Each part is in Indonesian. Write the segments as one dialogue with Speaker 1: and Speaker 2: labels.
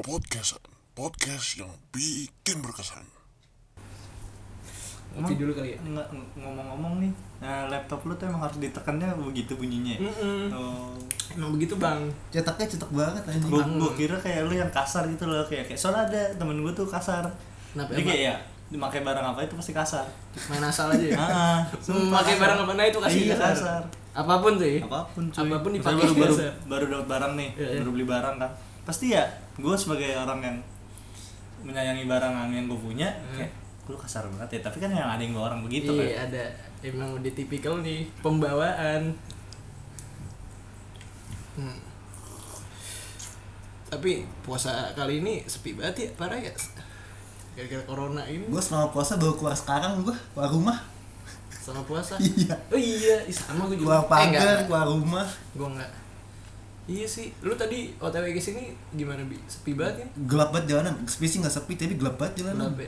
Speaker 1: podcast podcast yang bikin berkesan
Speaker 2: Oke dulu kali ya.
Speaker 3: Nggak, ng- ngomong-ngomong nih, nah, laptop lu tuh emang harus ditekannya begitu bunyinya. ya?
Speaker 2: Mm-mm.
Speaker 3: Oh,
Speaker 2: Emang begitu bang.
Speaker 4: cetaknya cetak banget anjing
Speaker 3: gua,
Speaker 2: Hmm.
Speaker 3: gua kira kayak lu yang kasar gitu loh kayak kayak soalnya ada temen gua tuh kasar.
Speaker 2: Kenapa
Speaker 3: Jadi
Speaker 2: emang?
Speaker 3: kayak ya, dimakai barang apa itu pasti kasar.
Speaker 2: Main asal aja ya.
Speaker 3: Ah, sumpah
Speaker 2: Memakai
Speaker 3: kasar.
Speaker 2: barang apa? Nah, itu kasih
Speaker 3: iya,
Speaker 2: kasar.
Speaker 3: kasar.
Speaker 2: Apapun tuh ya.
Speaker 3: Apapun cuy.
Speaker 2: Apapun
Speaker 3: Misalnya
Speaker 2: dipakai
Speaker 3: baru baru,
Speaker 2: biasa.
Speaker 3: baru dapat barang nih,
Speaker 2: Iya, iya.
Speaker 3: baru beli barang kan. Pasti ya, gua sebagai orang yang menyayangi barang yang gua punya,
Speaker 2: Hmm.
Speaker 3: kayak lu kasar banget ya, tapi kan yang ada yang bawa orang begitu kan.
Speaker 2: Iya ada. Emang udah tipikal nih pembawaan. Hmm. Tapi puasa kali ini sepi banget ya parah ya. Gara-gara corona ini
Speaker 4: gue selama puasa baru keluar sekarang gue keluar rumah
Speaker 2: sama puasa.
Speaker 4: iya
Speaker 2: Oh iya, ih, sama gue juga. Eh, enggak,
Speaker 4: keluar pagar
Speaker 2: enggak.
Speaker 4: keluar rumah
Speaker 2: Gua enggak. Iya sih, lu tadi OTW ke sini gimana bi? Sepi banget ya?
Speaker 4: gelap banget jalanan sepi sih nggak sepi tapi gelap banget jalanan
Speaker 2: Labe.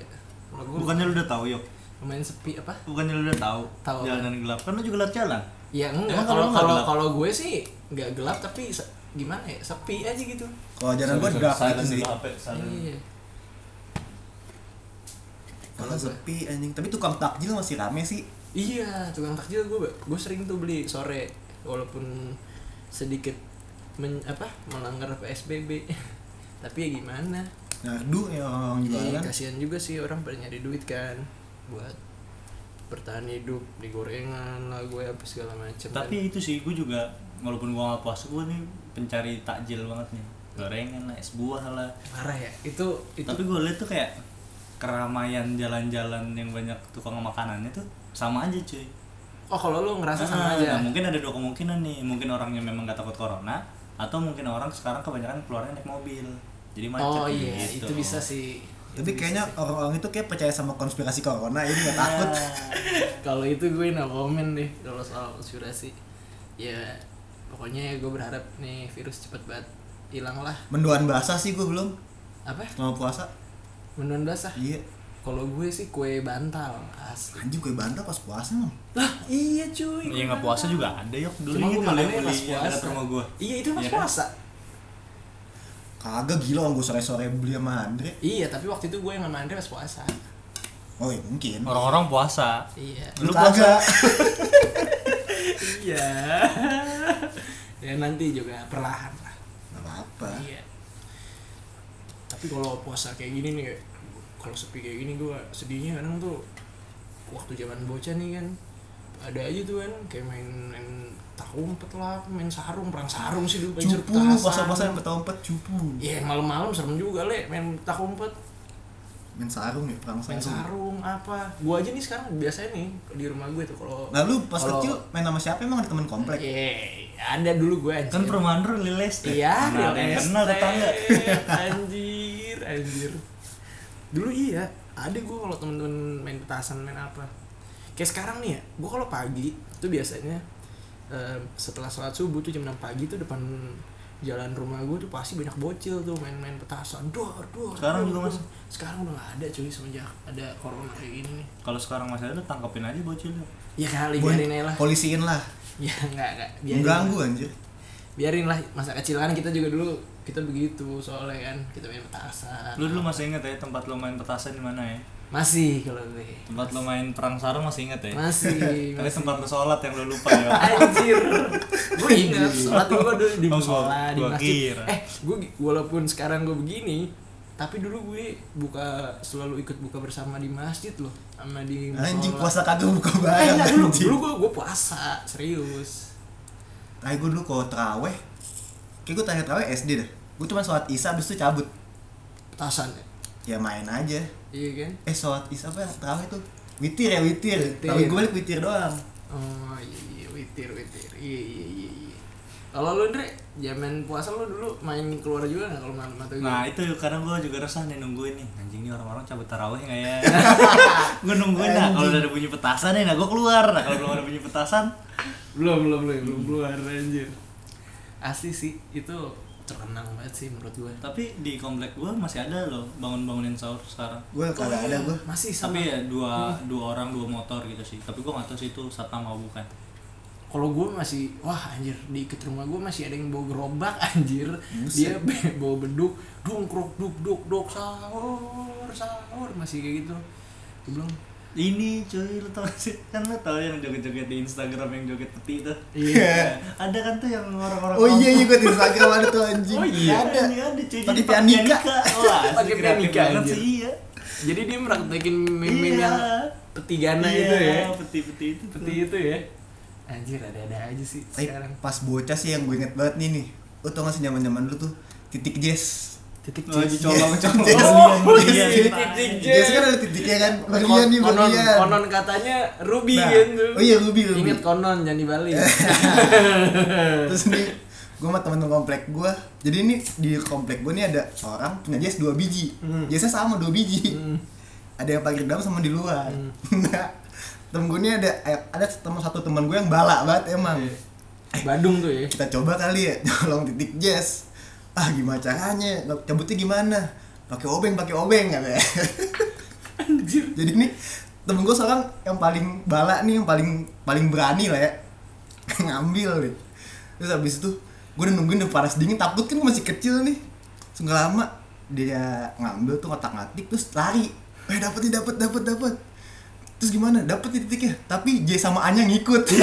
Speaker 2: Kalau gua
Speaker 3: kan. Bukannya lu udah tahu, yuk.
Speaker 2: lumayan sepi apa?
Speaker 3: bukannya lu udah tahu
Speaker 2: Tahu.
Speaker 3: jalanan gelap kan lu juga lihat jalan
Speaker 2: Ya enggak.
Speaker 3: Emang
Speaker 2: Kalau
Speaker 3: kalau lu nggak
Speaker 2: kalau
Speaker 3: gelap?
Speaker 2: kalau gue sih enggak gelap tapi se- gimana ya? Sepi aja gitu.
Speaker 4: kalau jalan gue gelap gitu sih
Speaker 2: Iya.
Speaker 4: kalau sepi anjing tapi tukang takjil masih rame sih
Speaker 2: Iya, tukang takjil gue gue sering tuh beli sore walaupun sedikit men- apa melanggar PSBB. tapi ya gimana?
Speaker 4: ngardu ya orang
Speaker 2: Iya,
Speaker 4: jualan
Speaker 2: kasihan juga sih orang pada nyari duit kan buat bertahan hidup di gorengan lah gue apa segala macam. kan.
Speaker 3: tapi itu sih gue juga walaupun gua nggak puasa gue nih pencari takjil banget nih gorengan lah es buah lah
Speaker 2: parah ya. Itu itu
Speaker 3: tapi gue lihat tuh kayak keramaian jalan-jalan yang banyak tukang makanannya tuh sama aja cuy
Speaker 2: oh kalau lu ngerasa sama
Speaker 3: Ah,
Speaker 2: aja.
Speaker 3: nah, mungkin ada dua kemungkinan nih mungkin orangnya memang gak takut corona atau mungkin orang sekarang kebanyakan keluarnya naik mobil jadi macet
Speaker 2: oh iya,
Speaker 3: gitu.
Speaker 2: itu bisa sih. Itu
Speaker 4: tapi
Speaker 2: bisa
Speaker 4: kayaknya
Speaker 2: sih. Iya.
Speaker 4: orang-orang itu kayak percaya sama konspirasi corona ini nggak takut
Speaker 2: Nah. kalau itu gue no komen deh kalau soal konspirasi. Ya pokoknya gue berharap nih virus cepet banget hilang lah
Speaker 4: mendoan basah sih gue belum
Speaker 2: apa
Speaker 4: selama puasa
Speaker 2: menuan basah
Speaker 4: iya
Speaker 2: kalau gue sih kue bantal asli
Speaker 4: anjing gue bantah pas puasa emang
Speaker 2: lah iya cuy
Speaker 3: ya nggak puasa juga ada yuk dulu
Speaker 2: Cuma gue
Speaker 3: gitu
Speaker 2: makannya
Speaker 3: beli
Speaker 2: pas
Speaker 3: yang dekat
Speaker 2: puasa.
Speaker 3: rumah gue
Speaker 2: iya itu pas
Speaker 3: Iya kan?
Speaker 2: puasa
Speaker 4: kagak gila orang gue sore-sore beli sama Andre
Speaker 2: Iya, tapi waktu itu gue yang sama Andre pas puasa.
Speaker 4: oh ya mungkin
Speaker 3: orang-orang puasa
Speaker 2: Iya.
Speaker 4: lu kagak
Speaker 2: iya. ya nanti juga perlahan lah.
Speaker 4: nggak apa-apa
Speaker 2: Iya. Tapi kalau puasa kayak gini nih, kayak- kalau sepi kayak gini gue sedihnya kadang tuh waktu zaman bocah nih kan ada aja tuh kan kayak main main tak umpet lah, main sarung, perang sarung sih dulu main
Speaker 4: cupu
Speaker 2: sertasan.
Speaker 4: puasa-puasa yang petah-empet cupu
Speaker 2: Iya, yang malam-malam serem juga le, main tak umpet,
Speaker 4: main sarung ya perang
Speaker 2: main
Speaker 4: sarung
Speaker 2: sarung apa. Gue aja nih sekarang biasanya nih di rumah gue tuh kalau
Speaker 4: Nah lu pas
Speaker 2: Kalau-
Speaker 4: kecil main sama siapa emang ada temen komplek?
Speaker 2: Yeay, Iya, ada dulu gue anjir.
Speaker 3: kan perumahan lu liles
Speaker 2: Iya,
Speaker 3: Mana Nah, ada yang
Speaker 2: real
Speaker 3: kenal tetangga
Speaker 2: estate, Anjir, anjir. Dulu iya, ada gue kalau temen-temen main petasan main apa. Kayak sekarang nih ya, gue kalau pagi itu biasanya eh, setelah sholat subuh tuh jam 6 pagi tuh depan jalan rumah gue tuh pasti banyak bocil tuh main-main petasan. Dor, dor. dor,
Speaker 3: Sekarang juga
Speaker 2: dor.
Speaker 3: masih?
Speaker 2: Sekarang udah gak ada cuy semenjak ada corona kayak gini nih.
Speaker 3: kalau sekarang masih ada tangkepin aja bocilnya
Speaker 2: Ya kali
Speaker 4: Bon-
Speaker 2: biarin aja lah.
Speaker 4: Polisiin lah,
Speaker 2: Ya enggak enggak biarin.
Speaker 4: mengganggu anjir.
Speaker 2: biarin lah masa kecil kan kita juga dulu kita begitu soalnya kan kita main petasan
Speaker 3: lu dulu masih inget ya tempat lu main petasan di mana ya
Speaker 2: masih kalau gue
Speaker 3: tempat lu main perang sarung masih inget ya
Speaker 2: masih
Speaker 3: tapi tempat lu sholat yang lu lupa ya
Speaker 2: anjir gue ingat sholat gue dulu di
Speaker 3: Iya, Oh, gua-
Speaker 2: musola di
Speaker 3: gua
Speaker 2: masjid
Speaker 3: kira.
Speaker 2: eh gue walaupun sekarang gue begini tapi dulu gue buka selalu ikut buka bersama di masjid loh sama di musola
Speaker 4: Anjing puasa kagak buka
Speaker 2: Eh,
Speaker 4: barang
Speaker 2: enggak, dulu
Speaker 4: anjing.
Speaker 2: dulu gue gue puasa serius
Speaker 4: Kayak gue dulu kalau teraweh, kayak gue tanya teraweh SD dah. Gue cuma sholat isya abis itu cabut.
Speaker 2: petasan ya
Speaker 4: Ya main aja.
Speaker 2: iya kan
Speaker 4: Eh sholat isya apa ya? teraweh tuh? Witir ya witir.
Speaker 2: Witir.
Speaker 4: Tapi gue balik witir doang.
Speaker 2: Oh iya iya witir witir iya iya iya. iya. Kalau lu Andre, zaman puasa lu dulu main keluar juga nggak kalau malam atau
Speaker 3: nah
Speaker 2: gimana?
Speaker 3: itu kadang gua juga resah nih nungguin nih anjing nih orang-orang cabut taraweh nggak ya gua nungguin nah kalau udah ada bunyi petasan nih nah gua keluar nah kalau belum ada bunyi petasan
Speaker 2: belum belum belum belum keluar anjir. Asli sih itu terkenang banget sih menurut gue.
Speaker 3: tapi di komplek gua masih ada loh bangun-bangunin sahur sekarang
Speaker 4: Gue kagak ada gue.
Speaker 2: Masih sama.
Speaker 3: tapi ya dua dua orang dua motor gitu sih tapi gua nggak tahu sih itu satpam mau bukan
Speaker 2: kalau gue masih wah anjir diikat rumah gue masih ada yang bawa gerobak anjir dia be- bawa beduk dong krok duk duk duk sahur sahur masih kayak gitu gue bilang
Speaker 3: ini cuy lu tau gak sih kan lu tau yang joget-joget di Instagram yang joget peti tuh
Speaker 2: iya
Speaker 3: Nah, ada kan tuh yang orang-orang
Speaker 4: Oh iya iya gue di Instagram ada tuh anjing.
Speaker 2: Oh iya.
Speaker 4: ada.
Speaker 3: Ini ada cuy
Speaker 4: Pakai
Speaker 3: Jadi pakaian
Speaker 4: pianika.
Speaker 3: wah
Speaker 2: Pakai
Speaker 3: pakai
Speaker 2: pianika,
Speaker 3: pianika banget
Speaker 2: anjir.
Speaker 3: sih iya
Speaker 2: jadi dia meraktekin meme-meme
Speaker 3: Iya.
Speaker 2: yang petigana
Speaker 3: Iya,
Speaker 2: itu ya
Speaker 3: peti-peti itu tuh.
Speaker 2: seperti itu ya anjir ada-ada aja sih
Speaker 4: Tapi
Speaker 2: sekarang
Speaker 4: pas bocah sih yang gue inget banget nih nih. Lu tau gak sih zaman zaman dulu tuh titik jazz.
Speaker 2: titik
Speaker 3: Oh,
Speaker 2: jazz.
Speaker 3: dicolong colong
Speaker 4: Jazz,
Speaker 2: Oh,
Speaker 4: jazz,
Speaker 2: iya,
Speaker 4: jazz.
Speaker 2: titik
Speaker 4: Jazz kan
Speaker 2: jazz.
Speaker 4: ada titiknya kan.
Speaker 2: Kon-
Speaker 4: Bagian nih
Speaker 2: konon,
Speaker 4: bagian.
Speaker 2: konon katanya Ruby
Speaker 4: Nah,
Speaker 2: kan tuh.
Speaker 4: oh iya, Ruby, Ruby.
Speaker 2: Ingat konon jangan dibalik.
Speaker 4: Terus nih gue sama temen-temen komplek gue jadi ini di komplek gue nih ada orang punya jazz dua biji
Speaker 2: Hmm.
Speaker 4: jazznya sama dua biji
Speaker 2: Hmm.
Speaker 4: ada yang pakai dalam sama di luar nah temen gue nih ada ada teman satu teman gue yang balak banget emang
Speaker 2: Iya. Badung tuh ya.
Speaker 4: kita coba kali ya nyolong titik jazz ah gimana caranya cabutnya gimana pakai obeng pakai obeng kan ya
Speaker 2: Anjir.
Speaker 4: jadi nih temen gue sekarang yang paling balak nih yang paling paling berani lah ya ngambil nih terus habis itu gue udah nungguin udah panas dingin takut kan gue masih kecil nih Terus nggak lama dia ngambil tuh ngotak ngatik terus lari eh dapet nih dapet dapet dapet terus gimana dapet nih titiknya tapi J sama A nya ngikut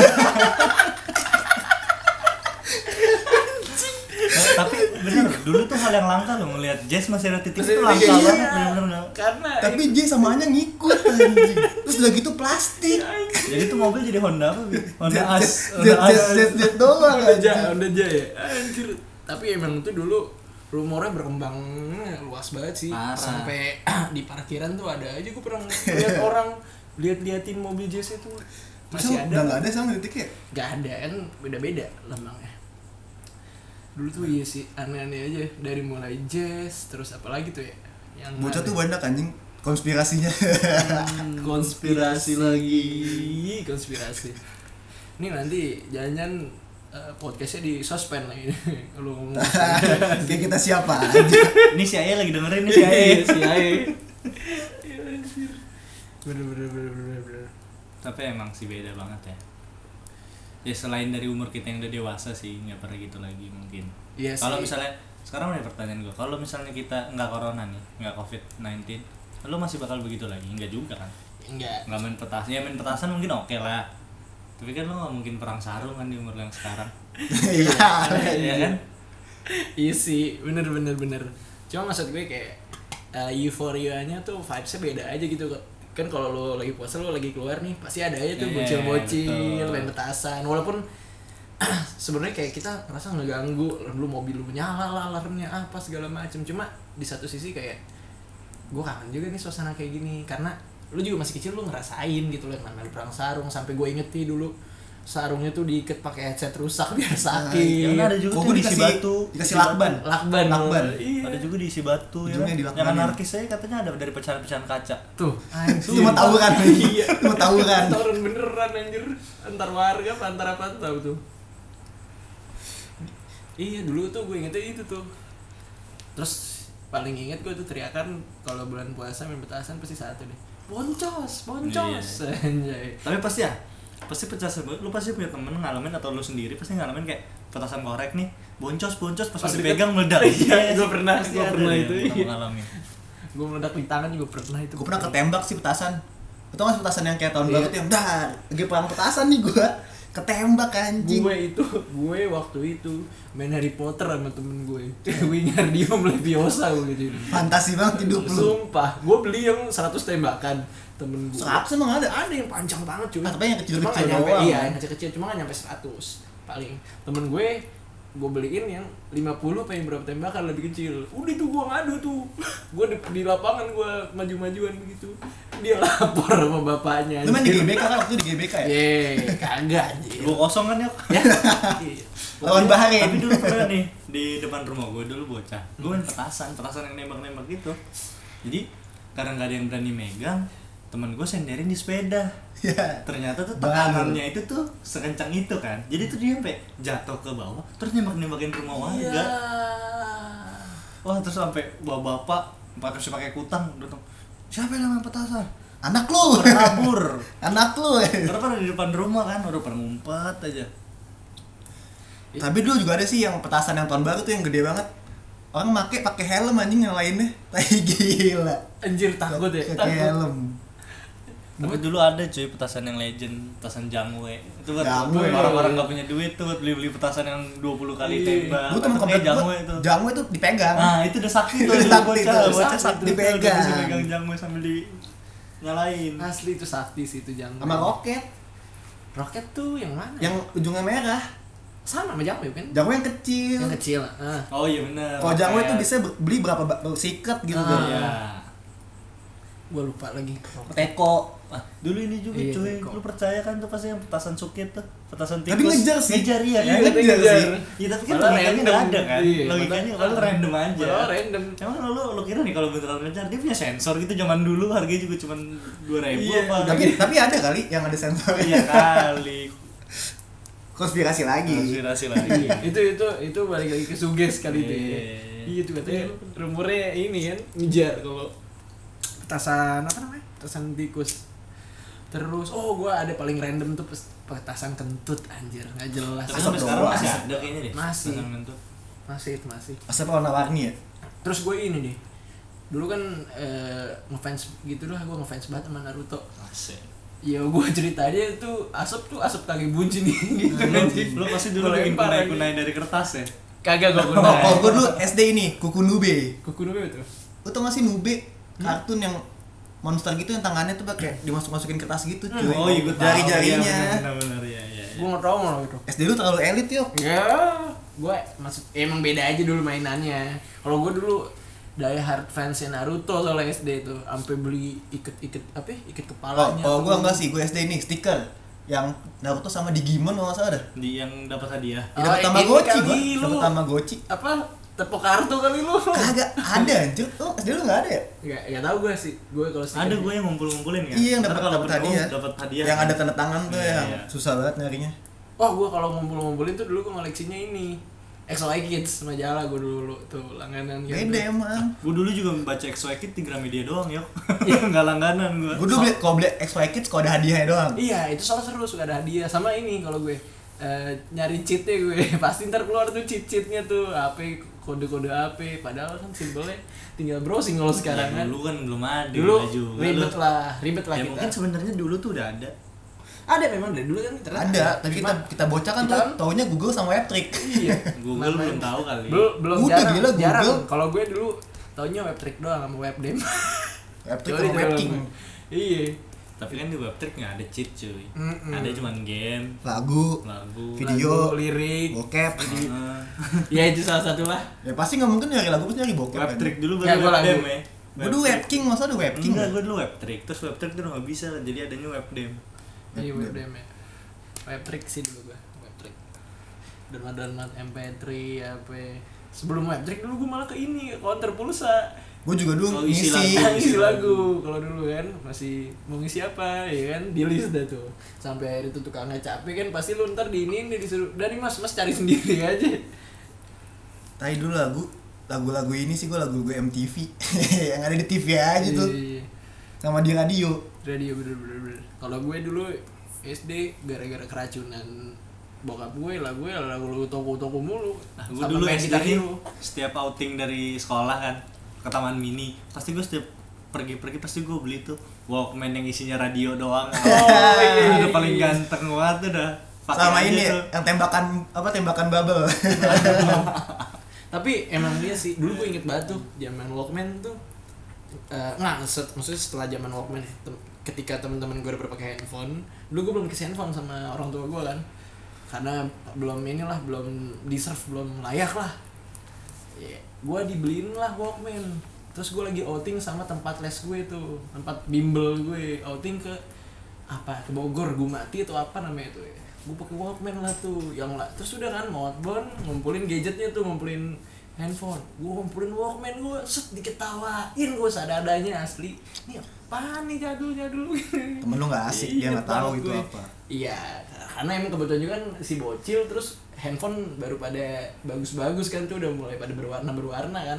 Speaker 3: Eh, tapi bener dulu tuh hal yang langka loh ngelihat jazz masih ada titik
Speaker 2: Masih
Speaker 3: itu
Speaker 2: ada
Speaker 3: langka
Speaker 4: titik, iya.
Speaker 3: banget bener-bener nggak-
Speaker 2: Karena
Speaker 4: tapi J sama A nya ngikut anjing terus udah gitu plastik
Speaker 3: jadi tuh mobil jadi Honda apa Bi? Honda
Speaker 4: Jet-
Speaker 3: As
Speaker 4: jet-
Speaker 3: Honda
Speaker 4: jet-
Speaker 3: As
Speaker 4: jet- jet doang
Speaker 2: udah aja,
Speaker 4: anjing.
Speaker 2: udah aja ya. Anjir. Tapi emang tuh dulu rumornya berkembang luas banget sih.
Speaker 3: Parah.
Speaker 2: Sampai di parkiran tuh ada aja gue pernah lihat orang lihat-liatin mobil jazz itu. Masih
Speaker 4: Masa udah
Speaker 2: ada.
Speaker 4: nggak ada sama titiknya
Speaker 2: Gak ada kan beda-beda lambangnya. Dulu tuh iya sih aneh-aneh aja dari mulai jazz terus apalagi tuh ya. Yang
Speaker 4: bocah
Speaker 2: ada-
Speaker 4: tuh banyak anjing konspirasinya
Speaker 2: konspirasi lagi konspirasi ini nanti jangan-jangan eh, podcastnya di suspend lagi kalau ngomong
Speaker 4: kayak kita siapa aja
Speaker 3: ini si Aye lagi dengerin nih si
Speaker 2: si
Speaker 3: Aye
Speaker 2: Ae, si Ae. Iya, anjir. bener bener bener bener bener
Speaker 3: tapi emang sih beda banget ya ya selain dari umur kita yang udah dewasa sih nggak pernah gitu lagi mungkin
Speaker 2: Iya
Speaker 3: kalau
Speaker 2: sih.
Speaker 3: misalnya sekarang ada pertanyaan gue kalau misalnya kita nggak corona nih nggak covid 19 lo masih bakal begitu lagi nggak juga kan
Speaker 2: enggak
Speaker 3: nggak main petasan ya main petasan mungkin oke lah tapi kan lo nggak mungkin perang sarung kan di umur lo yang sekarang
Speaker 4: iya
Speaker 3: ya kan
Speaker 2: iya sih bener bener bener cuma maksud gue kayak eh, euforianya tuh vibesnya beda aja gitu kok kan kalau lo lagi puasa lo lagi keluar nih pasti ada aja tuh
Speaker 3: Iya,
Speaker 2: bocil-bocil
Speaker 3: betul.
Speaker 2: main petasan walaupun sebenarnya kayak kita ngerasa ngeganggu lu mobil lu nyala lah alarmnya apa segala macem cuma di satu sisi kayak gue kangen juga nih suasana kayak gini karena lu juga masih kecil lu ngerasain gitu loh yang namanya perang sarung sampai gue inget nih dulu sarungnya tuh diikat pakai headset rusak biar
Speaker 3: Nah,
Speaker 2: sakit
Speaker 3: Karena ada juga
Speaker 4: Kok
Speaker 3: tuh
Speaker 4: gue
Speaker 3: diisi
Speaker 4: dikasih-
Speaker 3: batu,
Speaker 4: dikasih
Speaker 3: diisi
Speaker 4: lakban.
Speaker 2: lakban
Speaker 4: Lakban.
Speaker 2: Iya.
Speaker 3: ada juga diisi batu ya
Speaker 4: Ujungnya
Speaker 3: kan?
Speaker 4: dilakbanin.
Speaker 3: yang anarkis saya katanya ada dari pecahan-pecahan kaca
Speaker 2: tuh
Speaker 4: cuma tawuran
Speaker 2: Iya.
Speaker 4: cuma tawuran
Speaker 2: tawuran beneran anjir antar warga apa antar apa tuh tahu tuh iya dulu tuh gue ingetnya itu tuh terus paling inget gue tuh teriakan kalau bulan puasa main petasan pasti satu deh boncos boncos
Speaker 4: Iya.
Speaker 2: anjay
Speaker 3: tapi pasti ya pasti pecah sebut lu pasti punya temen ngalamin atau lu sendiri pasti ngalamin kayak petasan korek nih boncos boncos pas
Speaker 2: Pas
Speaker 3: udah
Speaker 2: deket.
Speaker 3: pegang meledak
Speaker 2: Iya, gua
Speaker 3: sih,
Speaker 2: pernah,
Speaker 3: pasti
Speaker 2: gua
Speaker 3: ada
Speaker 2: pernah
Speaker 3: deh
Speaker 2: itu,
Speaker 3: yang pernah
Speaker 2: iya.
Speaker 3: ngalamin.
Speaker 2: gue meledak di tangan juga pernah itu
Speaker 4: gue pernah ketembak sih petasan atau nggak sih petasan yang kayak tahun baru
Speaker 2: Iya.
Speaker 4: tuh yang dar lagi perang petasan nih gue ketembak anjing
Speaker 2: gue itu gue waktu itu main Harry Potter sama temen gue Wingardium Leviosa gue gitu
Speaker 4: fantasi banget hidup lu
Speaker 2: Sumpah, gue beli yang 100 tembakan temen gue.
Speaker 4: seratus emang ada
Speaker 2: Ada yang panjang banget cuy.
Speaker 4: Ah, tapi yang kecil-kecil
Speaker 2: Cuma nggak nyampe,
Speaker 4: doang.
Speaker 2: Iya, yang kecil-kecil cuma nggak nyampe 100 paling. Temen gue gue beliin yang 50 apa yang berapa tembakan lebih kecil udah tuh gue ngadu tuh gue di, di lapangan gue maju-majuan begitu dia lapor sama bapaknya
Speaker 4: lu main di GBK kan waktu itu di GBK ya
Speaker 2: Yeay, kagak anjir
Speaker 3: gua kosong kan ya
Speaker 2: ya iya.
Speaker 4: lawan Bahrain
Speaker 3: tapi dulu pernah nih di depan rumah gue dulu bocah gue main petasan petasan yang nembak-nembak gitu jadi karena nggak ada yang berani megang temen gue senderin di sepeda
Speaker 4: ya
Speaker 3: ternyata tuh
Speaker 4: Baru.
Speaker 3: tekanannya itu tuh sekencang itu kan jadi tuh dia sampai jatuh ke bawah terus nembak-nembakin rumah warga
Speaker 2: Iya.
Speaker 3: wah terus sampai bapak-bapak pakai terus pakai kutang datang siapa yang main petasan
Speaker 4: anak lu
Speaker 3: kabur
Speaker 4: anak lu
Speaker 3: karena kan ada di depan rumah kan udah pada ngumpet aja
Speaker 4: Tapi dulu juga ada sih yang petasan yang tahun baru tuh yang gede banget. Orang make pakai helm anjing yang lainnya. Tai gila.
Speaker 2: Anjir takut ya.
Speaker 4: Pakai helm.
Speaker 3: Tapi dulu ada cuy petasan yang legend, petasan jamwe. Itu buat
Speaker 4: Jamwe.
Speaker 3: buat orang-orang gak punya duit tuh buat beli-beli petasan yang 20 kali
Speaker 2: Iya.
Speaker 3: tembak.
Speaker 4: Gue temen
Speaker 3: Atau kayak
Speaker 4: komplek
Speaker 3: jamwe
Speaker 4: gue,
Speaker 3: Nah, itu.
Speaker 4: jamu itu dipegang.
Speaker 3: Nah, itu udah sakit
Speaker 4: Itu
Speaker 3: tuh
Speaker 4: udah sakti
Speaker 3: bocah,
Speaker 4: tuh,
Speaker 3: bocah
Speaker 4: sakti,
Speaker 3: sakit tuh,
Speaker 4: dipegang.
Speaker 3: udah bisa pegang jamwe sambil di nyalain.
Speaker 2: Asli itu sakti sih itu
Speaker 3: iya.
Speaker 2: jangan.
Speaker 4: Sama roket
Speaker 2: Roket tuh yang mana?
Speaker 4: yang ujungnya merah.
Speaker 2: sama sama jamu kan?
Speaker 4: Jamu yang kecil.
Speaker 2: Yang kecil. Ah.
Speaker 3: Oh iya benar.
Speaker 4: Kalau jamu itu bisa beli berapa ba- sikat gitu
Speaker 2: Ah.
Speaker 4: kan.
Speaker 3: Iya.
Speaker 2: Gua lupa lagi.
Speaker 4: Teko.
Speaker 3: Ah, dulu ini juga
Speaker 2: Iya,
Speaker 3: cuy,
Speaker 2: kok.
Speaker 3: lu percaya kan tuh pasti yang petasan cukit tuh, petasan tikus.
Speaker 4: Tapi ngejar sih.
Speaker 3: Ngejar iya kan.
Speaker 4: Ngejar
Speaker 2: ngejar.
Speaker 4: sih.
Speaker 3: Iya tapi kan
Speaker 2: Padahal
Speaker 3: logikanya nggak
Speaker 2: random.
Speaker 3: ada kan.
Speaker 2: Iya,
Speaker 3: logikanya
Speaker 2: padahal-
Speaker 3: kalau random aja.
Speaker 2: Padahal random.
Speaker 3: Emang lu lu kira nih kalau beneran ngejar dia punya sensor gitu zaman dulu harganya juga cuma 2000
Speaker 2: Iya,
Speaker 3: apa.
Speaker 4: Tapi tapi ada kali yang ada sensornya.
Speaker 3: iya kali.
Speaker 4: Konspirasi lagi.
Speaker 3: Konspirasi lagi.
Speaker 2: Iya, itu itu itu balik lagi ke suges kali itu. ya.
Speaker 3: Iya.
Speaker 2: Iya itu katanya rumornya ini kan ngejar kalau petasan apa namanya? Petasan tikus. Terus oh gua ada paling random tuh pes- petasan kentut anjir, nggak jelas.
Speaker 3: Tapi sampai sekarang
Speaker 4: doang.
Speaker 3: masih ada kayaknya deh.
Speaker 2: Iya. Masih.
Speaker 3: Petasan kentut.
Speaker 2: Masih itu masih.
Speaker 4: Asap warna warni ya.
Speaker 2: Terus gue ini nih. Dulu kan eh, ngefans gitu lah gue ngefans banget sama Naruto.
Speaker 3: Masih.
Speaker 2: Ya gue ceritanya tuh asap tuh asap kaki bunci nih gitu
Speaker 3: Lu,
Speaker 2: anjing.
Speaker 3: lu pasti dulu
Speaker 2: Gua
Speaker 3: bikin
Speaker 2: lempar
Speaker 3: kunai
Speaker 2: lagi. Hmm.
Speaker 3: kunai dari kertas ya.
Speaker 2: Kagak gue
Speaker 4: Oh,
Speaker 2: kunai.
Speaker 4: kalau gue dulu SD ini, kuku nube.
Speaker 2: Kuku Nube itu.
Speaker 4: Lu tau gak sih Nube? Kartun yang monster gitu yang tangannya tuh pakai dimasuk-masukin kertas gitu cuy.
Speaker 3: Oh iya gue tahu. Iya,
Speaker 4: Jari-jarinya.
Speaker 3: Benar-benar ya iya. iya.
Speaker 2: Gue nggak tahu malah itu.
Speaker 4: SD lu terlalu elit yuk.
Speaker 2: Ya, gue maksud emang beda aja dulu mainannya. Kalau gue dulu dari hard fans Naruto soalnya SD itu sampai beli iket-iket apa ya, iket
Speaker 4: Kalau
Speaker 2: kepalanya.
Speaker 4: kalau gue enggak oh, sih, gue SD ini stiker yang Naruto sama Digimon kalau nggak salah dah.
Speaker 3: Di yang dapat hadiah.
Speaker 2: Oh,
Speaker 4: Ya, dapat
Speaker 2: ini
Speaker 4: Tamagotchi
Speaker 2: kali
Speaker 4: gua,
Speaker 2: lu.
Speaker 4: dapat Tamagotchi.
Speaker 2: apa tepuk kartu kali lu?
Speaker 3: Oh.
Speaker 4: Kagak ada anjir. Oh, SD lu enggak ada ya?
Speaker 2: Nggak, nggak tahu gue sih. Gue kalau stiker-
Speaker 3: Ada gue Iya. yang ngumpul-ngumpulin ya.
Speaker 4: Iya yang
Speaker 3: Ntar
Speaker 4: dapat
Speaker 3: kalau
Speaker 4: dapat
Speaker 3: penuh,
Speaker 4: hadiah.
Speaker 3: Dapat hadiah.
Speaker 4: Yang ada tanda tangan tuh
Speaker 3: Iya,
Speaker 4: yang
Speaker 3: iya.
Speaker 4: susah banget nyarinya.
Speaker 2: Oh, gue kalau ngumpul-ngumpulin tuh dulu gue koleksinya ini. XY Kids majalah gue dulu tuh langganan gitu.
Speaker 3: Iya,
Speaker 4: Beda emang.
Speaker 3: Gue dulu juga baca XY Kid di Gramedia doang yuk. Enggak langganan gue.
Speaker 4: Gue dulu beli kalau beli XY Kids kalau ada hadiahnya doang.
Speaker 2: Iya, itu soal seru suka ada hadiah sama ini kalau gue eh, nyari cheatnya gue pasti ntar keluar tuh cheat cheatnya tuh apa kode-kode apa padahal kan simpelnya tinggal browsing kalau sekarang kan
Speaker 3: dulu kan belum ada
Speaker 2: dulu
Speaker 3: juga
Speaker 2: ribet
Speaker 3: lu.
Speaker 2: lah ribet lah
Speaker 3: Ya
Speaker 2: kita
Speaker 3: mungkin sebenarnya dulu tuh udah ada.
Speaker 2: ada memang dari dulu kan internet
Speaker 4: Ada, tapi kita kita bocah kan
Speaker 2: kita
Speaker 4: tuh
Speaker 2: kan-
Speaker 4: taunya Google sama Webtrick.
Speaker 2: iya
Speaker 3: Google belum tahu kali.
Speaker 2: belum belum
Speaker 4: Udah,
Speaker 2: jarang,
Speaker 4: gila,
Speaker 2: jarang.
Speaker 4: Google.
Speaker 2: kalau gue dulu taunya web trick doang sama web dem
Speaker 4: Webtrick
Speaker 2: Kecuali
Speaker 4: sama
Speaker 2: dalam-
Speaker 4: Webking.
Speaker 2: iya
Speaker 3: Tapi kan di webtrick nggak ada cheat cuy.
Speaker 2: Mm-mm.
Speaker 3: Ada cuman game,
Speaker 4: Lagu,
Speaker 3: lagu. uh-uh.
Speaker 4: Video.
Speaker 2: Lagu,
Speaker 4: Oh.
Speaker 2: lirik
Speaker 4: bokep.
Speaker 3: Heeh.
Speaker 2: ya itu salah satu lah
Speaker 4: Ya pasti nggak mungkin nyari lagu pasti nyari bokep.
Speaker 3: Webtrick dulu
Speaker 2: Ya,
Speaker 3: baru
Speaker 2: gua lagu.
Speaker 3: webdem ya.
Speaker 4: Gue dulu Webking, masa ada Webking?
Speaker 3: Enggak, gue dulu webtrick. Terus webtrick tuh udah nggak bisa, jadi adanya webdem.
Speaker 2: Iya web
Speaker 4: Web
Speaker 2: DM ya. Web trick sih dulu gua, web trick. Download download MP3 apa. ya. Sebelum web trick dulu gua malah ke ini ke counter pulsa.
Speaker 4: Gue juga
Speaker 3: Oh,
Speaker 4: dulu
Speaker 3: isi
Speaker 4: ngisi.
Speaker 3: lagu.
Speaker 2: Ngisi
Speaker 4: iya.
Speaker 2: lagu kalau dulu kan masih mau ngisi apa ya kan di list dah tuh. Sampai akhirnya tuh tukangnya capek kan pasti lu ntar diinin dia disuruh dari Mas Mas cari sendiri aja.
Speaker 4: Tadi dulu lagu lagu-lagu ini sih gue lagu-lagu MTV yang ada di TV aja tuh
Speaker 2: Iya, iya.
Speaker 4: sama di radio.
Speaker 2: Radio bener-bener. bener. Kalau gue dulu SD gara-gara keracunan bokap gue lah gue lagu-lagu toko-toko mulu.
Speaker 3: Nah, gue
Speaker 2: Sama
Speaker 3: dulu
Speaker 2: main
Speaker 3: SD
Speaker 2: Guitar
Speaker 3: nih,
Speaker 2: Hero.
Speaker 3: setiap outing dari sekolah kan ke taman mini, pasti gue setiap pergi-pergi pasti gue beli tuh Walkman yang isinya radio doang.
Speaker 2: Oh, iya, iya,
Speaker 3: udah paling
Speaker 2: iya. ya?
Speaker 3: ganteng banget tuh dah. Pakai
Speaker 4: sama
Speaker 3: aja
Speaker 4: ini
Speaker 3: tuh.
Speaker 4: yang tembakan apa tembakan bubble.
Speaker 2: tapi emang dia sih dulu gue inget banget tuh zaman Walkman tuh eh nggak set- maksudnya setelah zaman Walkman ya tem- ketika teman-teman gue udah berpakai handphone dulu gue belum kasih handphone sama orang tua gue kan karena belum inilah belum deserve belum layak lah Ya, gue dibeliin lah Walkman terus gue lagi outing sama tempat les gue tuh tempat bimbel gue outing ke apa ke Bogor gue mati atau apa namanya itu ya gue pakai Walkman lah tuh yang lah terus udah kan mau outbound ngumpulin gadgetnya tuh ngumpulin handphone gue ngumpulin Walkman gue set diketawain gue sadadanya asli ini apaan nih jadul jadul
Speaker 4: Temen lu nggak asik,
Speaker 2: Iya,
Speaker 4: dia nggak tahu
Speaker 2: banget
Speaker 4: itu
Speaker 2: gue.
Speaker 4: apa.
Speaker 2: Iya, karena emang kebetulan juga kan si bocil terus handphone baru pada bagus-bagus kan tuh udah mulai pada berwarna-berwarna kan.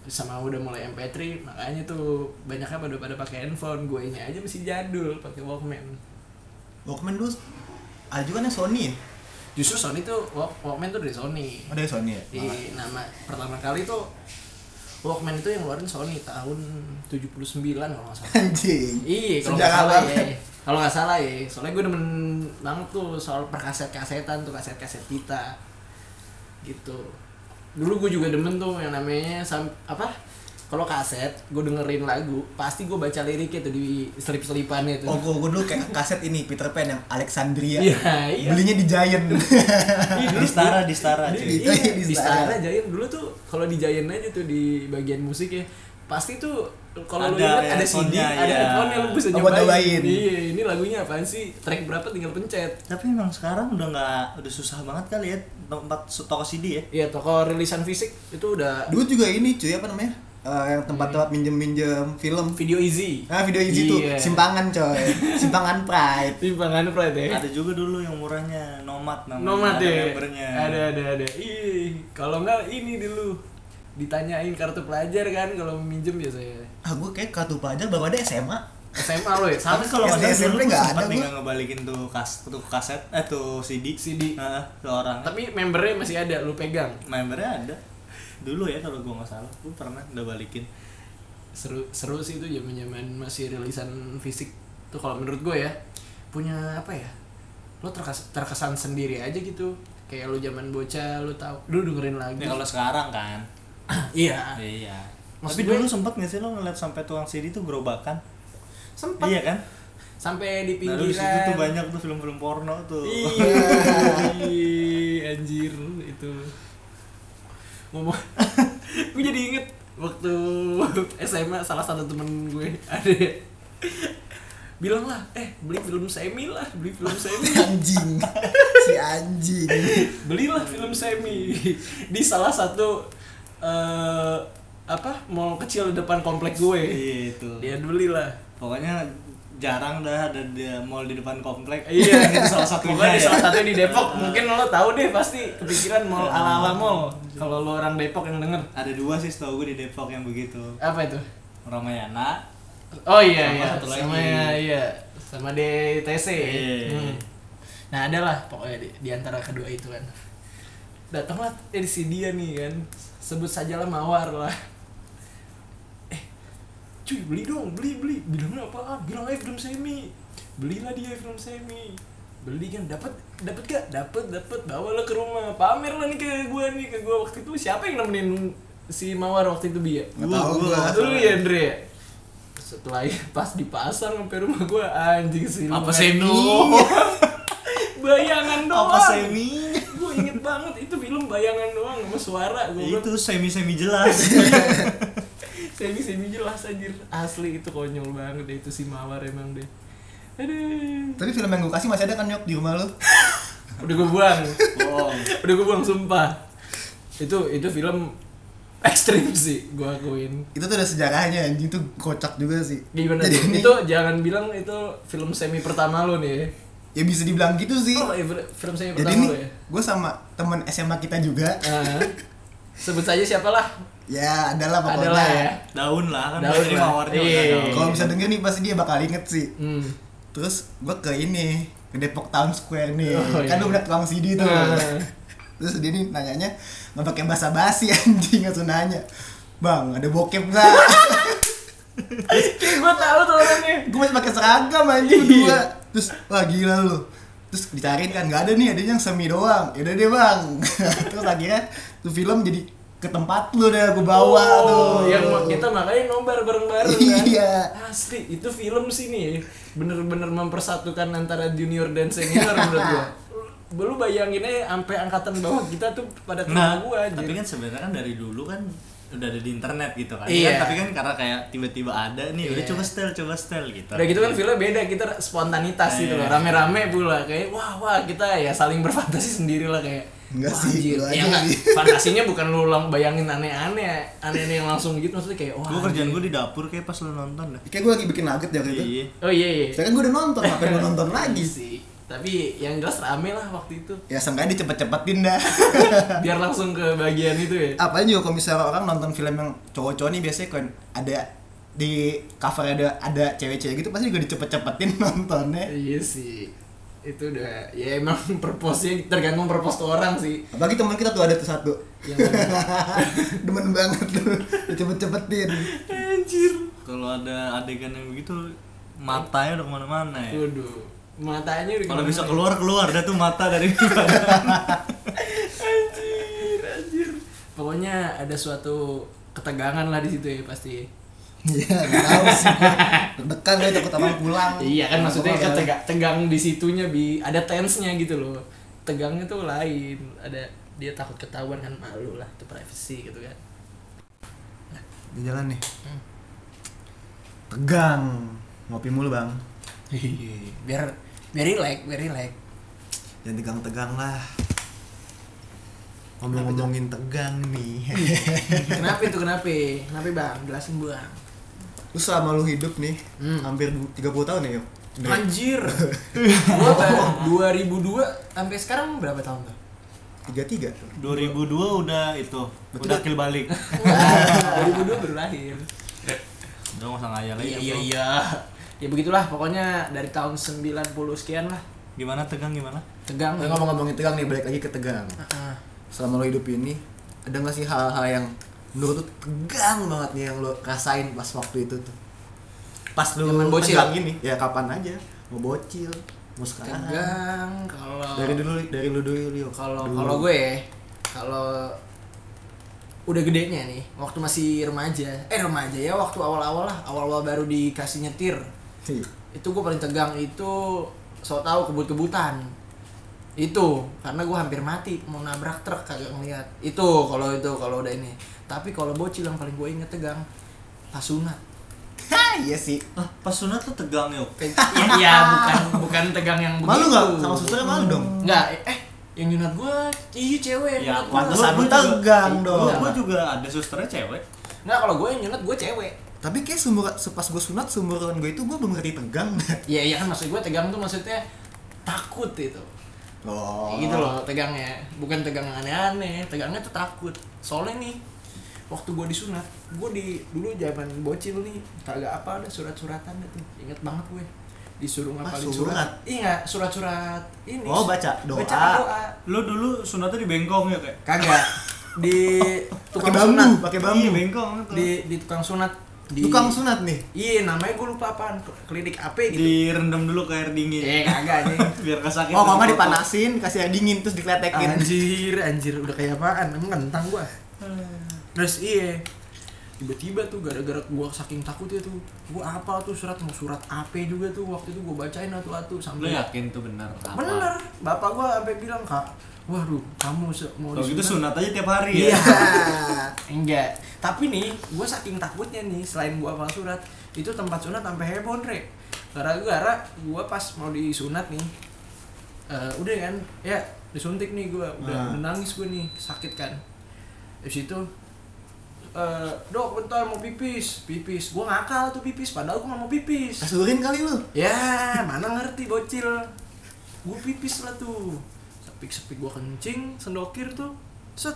Speaker 2: Terus sama udah mulai MP3, makanya tuh banyaknya pada pada pakai handphone, gue nya aja masih jadul pakai Walkman.
Speaker 4: Walkman dulu ada juga kan yang Sony. ya?
Speaker 2: Justru Sony tuh Walk- Walkman tuh dari Sony.
Speaker 4: Ada Sony ya?
Speaker 3: Iya.
Speaker 2: Di nama pertama kali tuh Walkman itu yang ngeluarin Sony tahun 79 kalau nggak salah.
Speaker 4: Anjing.
Speaker 2: Iya, kalau nggak
Speaker 4: Sejarah
Speaker 2: salah ya.
Speaker 4: banget.
Speaker 2: Kalau nggak salah ya. Soalnya gue demen banget tuh soal perkaset-kasetan tuh kaset-kaset kita. Gitu. Dulu gue juga demen tuh yang namanya sam apa? Kalau kaset, gue dengerin lagu, pasti gue baca liriknya tuh di selip-selipannya tuh.
Speaker 4: Oh, gua, gua dulu kayak kaset ini Peter Pan yang Alexandria.
Speaker 2: Iya, iya.
Speaker 4: Belinya di Giant.
Speaker 2: Iya, dulu-
Speaker 3: Di Stara, di Stara,
Speaker 2: Di-
Speaker 3: cuy.
Speaker 2: iya,
Speaker 4: Di
Speaker 2: di
Speaker 4: Stara.
Speaker 2: Stara Giant dulu tuh kalau di Giant aja tuh di bagian musik ya. Pasti tuh kalau lu
Speaker 3: Ada
Speaker 2: ingat ada CD,
Speaker 3: handphonenya,
Speaker 2: ada
Speaker 3: iya.
Speaker 2: handphone yang lu bisa
Speaker 4: Lu
Speaker 2: nyobain.
Speaker 4: nyobain.
Speaker 2: Iya, ini lagunya apaan sih? Track berapa tinggal pencet.
Speaker 3: Tapi emang sekarang udah nggak udah susah banget kali ya tempat toko CD ya.
Speaker 2: Iya, toko rilisan fisik itu udah
Speaker 4: dulu juga ini cuy apa namanya? Eh, yang
Speaker 2: Hmm.
Speaker 4: tempat-tempat minjem-minjem film.
Speaker 2: video easy.
Speaker 3: Ah,
Speaker 4: Nah, video ini tuh
Speaker 2: Iya.
Speaker 4: simpangan coy. Simpangan Pride.
Speaker 2: Timbangan Pride ya.
Speaker 3: Ada juga dulu yang murahnya Nomad namanya.
Speaker 2: Nomad
Speaker 3: ada
Speaker 2: ya.
Speaker 3: membernya.
Speaker 2: Ada ada ada. Ih, kalau enggak ini dulu ditanyain kartu pelajar kan kalau minjem biasanya.
Speaker 4: Ah, gua kayak kartu pelajar baru ada SMA.
Speaker 2: SMA lo ya?
Speaker 3: Tapi kalau
Speaker 4: SD,
Speaker 3: nggak salah
Speaker 4: SMP
Speaker 3: dulu
Speaker 4: nggak
Speaker 3: sempat nih
Speaker 4: ada gua.
Speaker 3: nggak ngebalikin tuh kas tuh kaset eh tuh CD
Speaker 2: CD.
Speaker 3: Heeh, ke orang.
Speaker 2: Tapi membernya masih ada, lu pegang.
Speaker 3: membernya ada. Dulu ya kalau gua nggak salah, gua pernah udah balikin.
Speaker 2: seru seru sih itu zaman zaman masih rilisan fisik tuh kalau menurut gue ya punya apa ya lo terkesan, terkesan sendiri aja gitu kayak lo zaman bocah lo tahu lo dengerin lagu
Speaker 3: Ya kalau sekarang kan.
Speaker 2: iya
Speaker 3: Iya.
Speaker 2: Maksud
Speaker 3: Tapi
Speaker 2: gue-
Speaker 3: dulu sempet nggak sih lo ngeliat sampai tukang CD tuh gerobakan?
Speaker 2: sempat
Speaker 3: Iya kan?
Speaker 2: sampai di
Speaker 3: Nah,
Speaker 2: pinggiran
Speaker 3: dulu di situ tuh banyak tuh film-film porno tuh.
Speaker 2: iya iya, anjir itu ngomong gue jadi inget waktu SMA salah satu temen gue ada bilang lah eh beli film semi lah beli film semi
Speaker 4: Anjing. si anjing.
Speaker 2: belilah film semi di salah satu eh, apa mall kecil depan komplek gue
Speaker 3: Iya itu.
Speaker 2: dia belilah
Speaker 3: Pokoknya jarang dah ada di mall di depan komplek.
Speaker 2: iya
Speaker 3: itu salah satunya.
Speaker 2: Pokoknya di
Speaker 3: ya.
Speaker 2: salah satu di Depok mungkin lo tahu deh pasti kepikiran mall ala ala mall kalau lo orang Depok yang denger
Speaker 3: Ada dua sih setahu gue di Depok yang begitu.
Speaker 2: apa itu
Speaker 3: Ramayana.
Speaker 2: oh iya
Speaker 3: Sama
Speaker 2: iya
Speaker 3: satu lagi.
Speaker 2: sama ya, iya sama DTC
Speaker 3: Iya.
Speaker 2: Hmm. nah adalah pokoknya di, di antara kedua itu kan datanglah dari si dia nih kan sebut sajalah mawar lah Eh, cuy beli dong beli beli bilangnya apa ah bilang aja film semi belilah dia film semi beli kan dapat dapat gak dapat dapat bawa lo ke rumah pamer lo nih ke gue nih ke gue waktu itu siapa yang nemenin si mawar waktu itu ya? bia
Speaker 4: Nggak
Speaker 2: Gua,
Speaker 4: tahu
Speaker 2: gua,
Speaker 4: gua.
Speaker 2: waktu dulu ya Andre ya? setelah pas dipasang sampai rumah gue anjing sih lumayan
Speaker 3: Apa semi? Iya.
Speaker 2: doang. bayangan doang
Speaker 3: Iya. Apa semi?
Speaker 2: gue inget banget itu film bayangan doang sama suara gue bilang,
Speaker 3: Ya Itu semi-semi jelas.
Speaker 2: semi semi jelas anjir asli itu konyol banget deh itu si mawar emang deh aduh
Speaker 4: Tapi film yang gua kasih masih ada kan nyok di rumah lu?
Speaker 2: udah gue buang
Speaker 3: Bohong.
Speaker 2: udah gue buang sumpah itu itu film ekstrim sih gue akuin
Speaker 4: Itu tuh ada sejarahnya anjing tuh kocak juga sih.
Speaker 2: gimana
Speaker 4: Jadi
Speaker 2: tuh?
Speaker 4: ini-
Speaker 2: itu jangan bilang itu film semi pertama lo nih
Speaker 4: ya bisa dibilang gitu sih.
Speaker 2: oh eh, film semi
Speaker 4: Jadi
Speaker 2: pertama
Speaker 4: nih,
Speaker 2: lo ya
Speaker 4: gue sama teman SMA kita juga,
Speaker 2: Ah. sebut saja siapalah
Speaker 4: ya adalah pokoknya.
Speaker 2: adalah ya
Speaker 3: Daun lah kan.
Speaker 2: Daun
Speaker 3: Daun ini
Speaker 2: lah.
Speaker 3: mawarnya
Speaker 2: Iya.
Speaker 3: udah daun.
Speaker 4: Kalau bisa denger nih pasti dia bakal inget sih.
Speaker 2: hmm.
Speaker 4: Terus gue ke ini, ke Depok Town Square nih.
Speaker 2: Oh,
Speaker 4: kan
Speaker 2: iya.
Speaker 4: lu udah tukang CD tuh.
Speaker 2: Ah.
Speaker 4: Terus dia nih nanyanya nggak pakai bahasa basi anjing langsung nanya. Bang, ada bokep nggak?
Speaker 2: gue tahu tuh orangnya
Speaker 4: gue masih pakai seragam anjing
Speaker 2: Iya.
Speaker 4: berdua. Terus wah gila lu. Terus dicariin kan nggak ada nih, ada yang semi doang. Ya udah deh bang. Terus akhirnya tuh film jadi ke tempat lu deh gue bawa
Speaker 2: Oh,
Speaker 4: tuh.
Speaker 2: yang kita makanya nobar bareng-bareng kan
Speaker 4: Iya.
Speaker 2: asli itu film sih nih bener-bener mempersatukan antara junior dan senior menurut gua belum bayangin aja sampai angkatan bawah kita tuh pada kenal
Speaker 3: Nah,
Speaker 2: gua aja
Speaker 3: tapi kan sebenarnya kan dari dulu kan udah ada di internet gitu kan.
Speaker 2: Iya.
Speaker 3: Kan, tapi kan karena kayak tiba-tiba ada nih, udah
Speaker 2: Iya.
Speaker 3: coba setel, coba setel gitu.
Speaker 2: udah gitu kan filmnya beda kita spontanitas gitu loh rame-rame pula kayak wah wah kita ya saling berfantasi sendiri lah kayak
Speaker 4: Enggak
Speaker 2: wah, anjir.
Speaker 4: sih, gua
Speaker 2: ya
Speaker 4: aja
Speaker 2: enggak
Speaker 4: sih.
Speaker 2: fantasinya bukan lu lang- bayangin aneh-aneh aneh-aneh yang langsung gitu maksudnya kayak wah
Speaker 3: Gue kerjaan
Speaker 2: anjir.
Speaker 3: gue di dapur kayak pas lo nonton dah.
Speaker 4: Kayak gue lagi bikin nugget ya waktu itu.
Speaker 3: Iya.
Speaker 2: oh iya iya
Speaker 4: Saya kan gue udah nonton, ngapain gue nonton lagi sih?
Speaker 2: sih tapi yang jelas rame lah waktu itu
Speaker 4: Ya seenggaknya dicepet-cepetin dah.
Speaker 2: biar langsung ke bagian itu ya
Speaker 4: Apalagi juga kalau misalnya orang nonton film yang cowok-cowok nih biasanya kan ada di cover ada ada cewek-cewek gitu pasti juga dicepet-cepetin nontonnya.
Speaker 2: iya sih itu udah ya emang purpose-nya tergantung purpose tuh orang sih
Speaker 4: Apalagi teman kita tuh ada tuh satu.
Speaker 2: yang mana-
Speaker 4: Demen banget tuh. Cepet-cepetin.
Speaker 2: anjir
Speaker 3: Kalau ada adegan yang begitu matanya udah kemana-mana ya.
Speaker 2: waduh ya? matanya udah
Speaker 3: Kalau
Speaker 2: kemana-mana.
Speaker 3: bisa keluar keluar dah tuh mata dari
Speaker 2: anjir anjir pokoknya ada suatu ketegangan lah di situ ya pasti
Speaker 4: Iya, nggak tahu sih. gua. Deg-degan gue takut abang pulang.
Speaker 2: iya kan maksudnya
Speaker 4: Abang
Speaker 2: kan
Speaker 4: pulang.
Speaker 2: tega- tegang di situnya bi ada tense-nya gitu loh tegangnya tuh lain ada dia takut ketahuan kan malu lah itu privacy gitu kan
Speaker 4: Di jalan nih. Tegang. Ngopi mulu, Bang.
Speaker 2: Iya, biar biar relax biar relax
Speaker 4: Jangan tegang-tegang lah. Ngomong-ngomongin tegang nih.
Speaker 2: kenapa itu kenapa kenapa bang jelasin bang
Speaker 4: lu selama lu hidup nih,
Speaker 2: Hmm.
Speaker 4: hampir du- 30 tahun ya, yuk.
Speaker 2: anjir gua tahun 2002 sampai sekarang berapa tahun tuh
Speaker 4: 33.
Speaker 3: 2002 udah itu.
Speaker 4: Betul.
Speaker 3: Udah kill balik.
Speaker 2: 2002 baru lahir
Speaker 3: Udah nggak usah ngayal lagi.
Speaker 2: iya iya iya ya begitulah pokoknya dari tahun 90 sekian lah
Speaker 3: Gimana tegang gimana?
Speaker 2: tegang
Speaker 4: Nah, ngomong-ngomongin tegang nih, balik lagi ke tegang.
Speaker 2: Heeh.
Speaker 4: Selama lu hidup ini, ada gak sih hal-hal yang menurut lu tegang banget nih yang lu rasain pas waktu itu tuh? Pas lu
Speaker 2: Zaman bocil.
Speaker 4: tegang gini, ya kapan aja. Mau bocil, mau sekarang.
Speaker 2: tegang kalau
Speaker 4: Dari dulu, dari lu dulu, Leo.
Speaker 2: kalau
Speaker 4: Dulu.
Speaker 2: kalau gue ya kalau udah gedenya nih waktu masih remaja eh remaja ya waktu awal-awal lah awal-awal baru dikasih nyetir
Speaker 4: Iya.
Speaker 2: itu gue paling tegang itu so tau kebut-kebutan itu karena gue hampir mati mau nabrak truk kagak ngeliat itu kalau itu kalau udah ini tapi kalau bocil yang paling gue inget tegang pas sunat
Speaker 4: Hah, iya sih.
Speaker 3: Ah, pas sunat tuh tegang yuk.
Speaker 2: ya, ya, bukan bukan tegang yang begitu
Speaker 4: Malu nggak? Sama susternya malu dong?
Speaker 2: nggak eh yang nyunat gue iya cewek yang
Speaker 3: Ya,
Speaker 2: nyunat gua.
Speaker 3: gua-
Speaker 4: pantesan lu
Speaker 3: gua juga-
Speaker 4: tegang
Speaker 3: gua-
Speaker 4: dong.
Speaker 3: Gua juga ada susternya cewek.
Speaker 2: Nggak, kalau gue yang nyunat gue cewek.
Speaker 4: Tapi kayak sumber pas gue sunat sumuran gue itu gue belum ngerti tegang.
Speaker 2: Iya, iya kan maksud gue tegang tuh maksudnya takut itu.
Speaker 4: Oh.
Speaker 2: Kayak Gitu loh tegangnya. Bukan tegang yang aneh-aneh, tegangnya tuh takut. Soalnya nih waktu gue disunat, gue di dulu zaman bocil nih kagak apa ada surat-suratan gitu. Ingat banget gue disuruh ngapalin
Speaker 4: Ah, surat?
Speaker 2: surat. Iya, surat-surat ini.
Speaker 4: Oh, baca doa.
Speaker 2: Bacaan doa.
Speaker 3: Lu dulu sunatnya di bengkong ya kayak.
Speaker 2: Kagak di
Speaker 4: Pakai
Speaker 2: tukang
Speaker 4: bambu,
Speaker 2: sunat.
Speaker 4: pakai bambu.
Speaker 3: Iya, bengkong itu.
Speaker 2: Di di tukang sunat. Di,
Speaker 4: Tukang sunat nih.
Speaker 2: Iya, namanya gue lupa apaan. Klinik AP gitu.
Speaker 3: direndam dulu ke air dingin.
Speaker 2: Eh kagak nih.
Speaker 3: Biar kesakitan.
Speaker 4: Oh, mama dipanasin, kasih air dingin terus dikletekin.
Speaker 2: Anjir, anjir udah kayak apaan? Emang kentang gua.
Speaker 3: Hmm.
Speaker 2: Terus iya. Tiba-tiba tuh gara-gara gua saking takutnya tuh. Gua apa tuh surat mau surat AP juga tuh waktu itu gua bacain atu-atu
Speaker 3: Lu
Speaker 2: sambil
Speaker 3: yakin tuh benar? apa?
Speaker 2: Bener, bapak gua sampai bilang, "Kak, waduh, kamu se- mau
Speaker 3: Kalau gitu
Speaker 2: disunat?"
Speaker 3: sunat aja tiap hari ya.
Speaker 2: Iya. Enggak. Tapi nih, gue saking takutnya nih, selain gue hafal surat, itu tempat sunat sampai heboh, Re. Gara-gara gue pas mau disunat nih, eh, udah kan, ya disuntik nih gue, udah
Speaker 4: Nah.
Speaker 2: udah nangis gue nih, sakit kan. Terus itu, eh, dok bentar mau pipis, pipis. Gue ngakal tuh pipis, padahal gue gak mau pipis.
Speaker 4: Kasurin kali lu.
Speaker 2: Ya, mana ngerti bocil. Gue pipis lah tuh. Sepik-sepik gue kencing, sendokir tuh. Set.